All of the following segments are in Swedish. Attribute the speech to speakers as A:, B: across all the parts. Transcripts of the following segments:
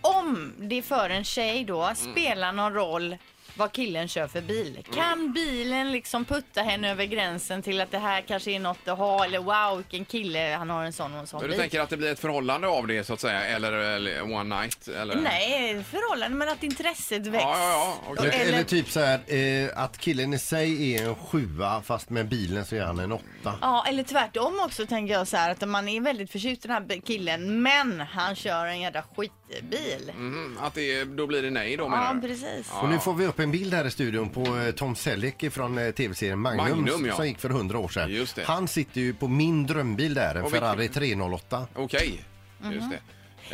A: om det för en tjej då
B: Mm.
A: spelar någon roll vad killen kör för bil. Kan bilen liksom putta henne över gränsen till att det här kanske är något att ha eller wow vilken kille han har en sån och en sån
B: Men
A: bil.
B: du tänker att det blir ett förhållande av det så att säga eller, eller one night? Eller?
A: Nej, förhållande men att intresset väcks.
B: Ja, ja, ja. okej.
C: Eller,
A: Eller-
C: typ så här, eh, att killen i sig är en sjua fast med bilen så är han en åtta.
A: Ja, eller tvärtom också tänker jag så här att om man är väldigt förtjust i den här bi- killen men han kör en jävla skitbil.
B: Mm, att det, då blir det nej då menar
A: ja,
B: du?
A: precis.
C: Och nu får vi upp en bild här i studion på eh, Tom Selleck från eh, tv-serien Magnum,
B: Magnum, ja.
C: som gick för 100 år sedan.
B: Just det.
C: Han sitter ju på min drömbil där, en
B: Och
C: Ferrari 308.
B: Okej, just det. Eh,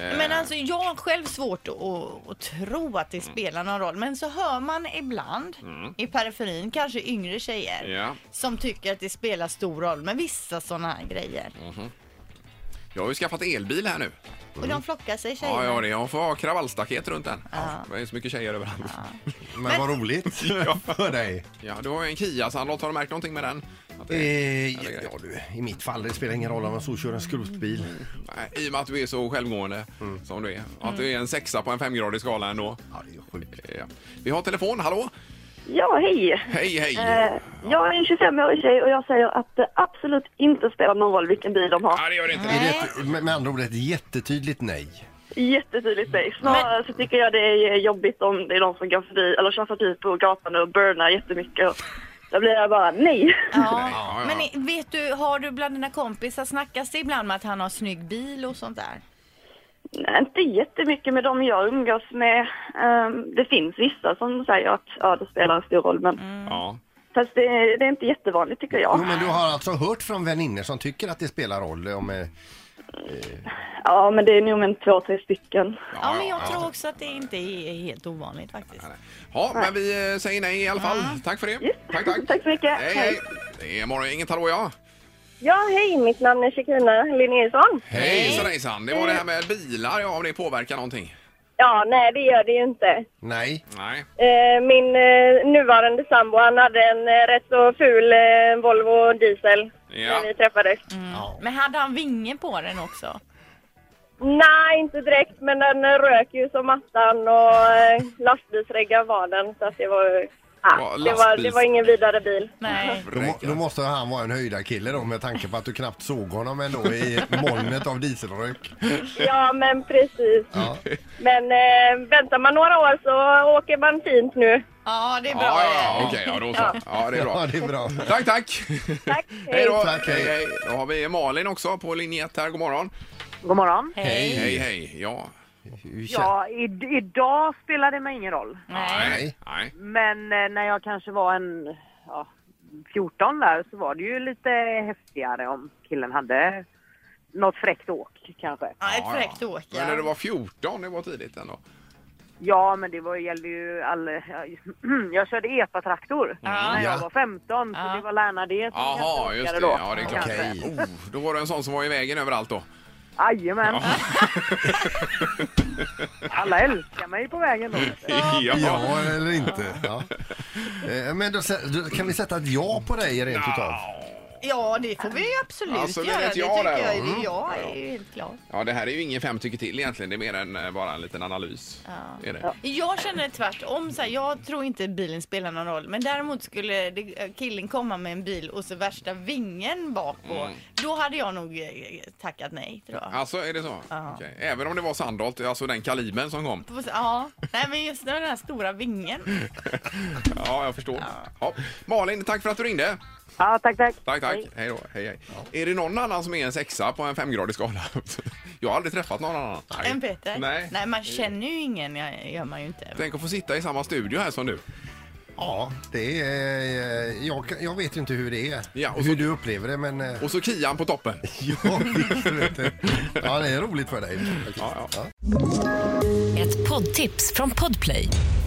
A: Mhm. Men alltså jag har själv svårt att, att, att tro att det spelar någon roll. Men så hör man ibland i periferin, kanske yngre tjejer,
B: Ja.
A: som tycker att det spelar stor roll med vissa sådana här grejer.
B: Jag har ju skaffat elbil här nu.
A: Och de flockar sig tjejerna.
B: Mm. Ja, ja, det, jag får ha kravallstaket runt den. Det är så mycket tjejer överallt.
C: Men, vad roligt för dig.
B: Ja, du har ju en Kia, Sandholt. Har du märkt någonting med den? Att det,
C: Eh,
B: Eller grej.
C: ja, du, I mitt fall det spelar ingen roll om man så kör en skrotbil.
B: Mm. Nej, I och med att du är så självgående
C: Mm.
B: som du är.
A: Mm.
B: Att du är en sexa på en femgradig skala ändå.
C: Ja, det är sjukt.
B: Ja. Vi har telefon, hallå?
D: Ja, hej!
B: Hej, hej!
D: Eh, jag är en 25-årig tjej och jag säger att det absolut inte spelar någon roll vilken bil de har.
B: Nej, det gör det inte.
A: Mm.
C: Är det ett, med, med andra ord ett jättetydligt nej.
D: Jättetydligt nej. Snarare så tycker jag det är jobbigt om det är någon som går förbi eller kör förbi på gatan och burnar jättemycket. Och då blir jag bara nej.
A: Ja.
B: Nej, ja, ja.
A: Men i- vet du, har du bland dina kompisar snackas det ibland med att han har snygg bil och sånt där?
D: Nej, inte jättemycket med dem jag umgås med. Ehm, det finns vissa som säger att ja, det spelar en stor roll men
B: Ja.
D: fast det, det är inte jättevanligt tycker jag.
C: Jo, men du har alltså hört från väninnor som tycker att det spelar roll om... Eh,
D: Ja men det är nog en två, tre stycken.
A: Ja, men jag tror också att det inte är helt ovanligt faktiskt.
B: Ja, men vi eh, säger nej i alla fall. Tack för det. Tack, tack.
D: Tack så mycket.
B: Hej, hej. Det är morgon, inget hallå ja.
E: Ja, hej, mitt namn är Shekina Linnéusson.
B: Hej, hejsan, hejsan. Det var det här med bilar, ja, om det påverkar någonting.
E: Ja, nej, det gör det ju inte.
C: nej.
B: Nej.
E: Eh, Min eh, nuvarande sambo, han hade en eh, rätt så ful eh, Volvo diesel
B: Ja.
E: när vi träffades.
B: Mm.
C: Ja.
A: Men hade han vinge på den också?
E: Nej, inte direkt, men den eh, rök ju som attan och eh, lastbilsreggar var den. Så att det var ju-
B: Ja,
E: Ah, det, var, det
B: lastbils-
E: var ingen vidare bil.
A: Nej.
C: Då, må- då måste han vara en höjda kille då med tanke på att du knappt såg honom ändå i molnet av dieselrök.
E: Ja, men precis.
C: Ja.
E: Men eh, väntar man några år så åker man fint nu.
A: Ja, det är bra.
B: Ja, ja, ja, okej, ja, då så. Ja, det är bra.
C: Ja, det är bra.
B: Tack, tack!
E: Tack,
B: Hej då!
C: Tack,
B: hej,
C: hej.
B: hej. Då har vi Malin också på linje 1 här. God morgon.
F: God morgon.
A: Hej.
B: Hej, hej. Ja.
C: Hur kän-
F: Ja, i, idag spelar det mig ingen roll.
A: Nej.
B: Nej. Nej.
F: Men eh, när jag kanske var en ja, 14 där så var det ju lite häftigare om killen hade något fräckt åk kanske.
A: Ja, ett
B: Ja,
A: fräckt
B: ja.
A: åk
B: Men när du
A: ja.
B: var 14, det var tidigt ändå.
F: Ja, men det var, gällde ju all... Jag körde epatraktor när jag
C: Ja.
F: var 15 så
A: Ja.
F: det var lärna det som
B: Jaha,
F: kanske
B: just det.
F: åkade
B: Ja, det är klart.
F: Kanske.
C: Okej.
B: Oh, då var du en sån som var i vägen överallt då.
F: Jajamän.
B: Ja.
F: Alla älskar mig på vägen då.
C: Ja, eller inte. Ja. Eh, Men då, sä- då kan vi sätta ett ja på dig rent utav?
A: ja, det får vi absolut
B: Alltså, det
A: göra.
B: är
A: Det
B: ett
A: tycker
B: ja där, Mm.
A: jag.
B: ja.
A: Det jag är ju helt klar.
B: Ja, det här är ju ingen fem tycker till egentligen. Det är mer än eh, bara en liten analys.
A: Ja.
B: Är det?
A: Jag känner tvärtom. Så här, jag tror inte bilen spelar någon roll. Men däremot skulle det, eh, killen komma med en bil och så värsta vingen bak på.
B: Mm.
A: Då hade jag nog eh, tackat nej, tror jag.
B: Alltså, är det så?
A: Ja.
B: Okej. Även om det var Sandholt, alltså den kalibern som kom?
A: På- Ja, nej men just den här stora vingen.
B: Ja, jag förstår. Ja. Malin, tack för att du ringde.
F: Ja, tack, tack.
B: Tack, tack. Hej då. Hej, hej. Är det någon annan som är en sexa på en femgradig skala? Jag har aldrig träffat någon annan.
A: En Peter.
B: Nej.
A: nej, man känner ju ingen, ja, gör man ju inte.
B: Tänk att få sitta i samma studio här som du.
C: Ja, det är, eh, jag, kan- jag vet ju inte hur det är,
B: Ja, och så-
C: hur du upplever det, men eh,
B: Och så Kian på toppen.
C: jag vet inte. Ja, det är roligt för dig.
B: Ja, ja.
G: Ett poddtips från Podplay.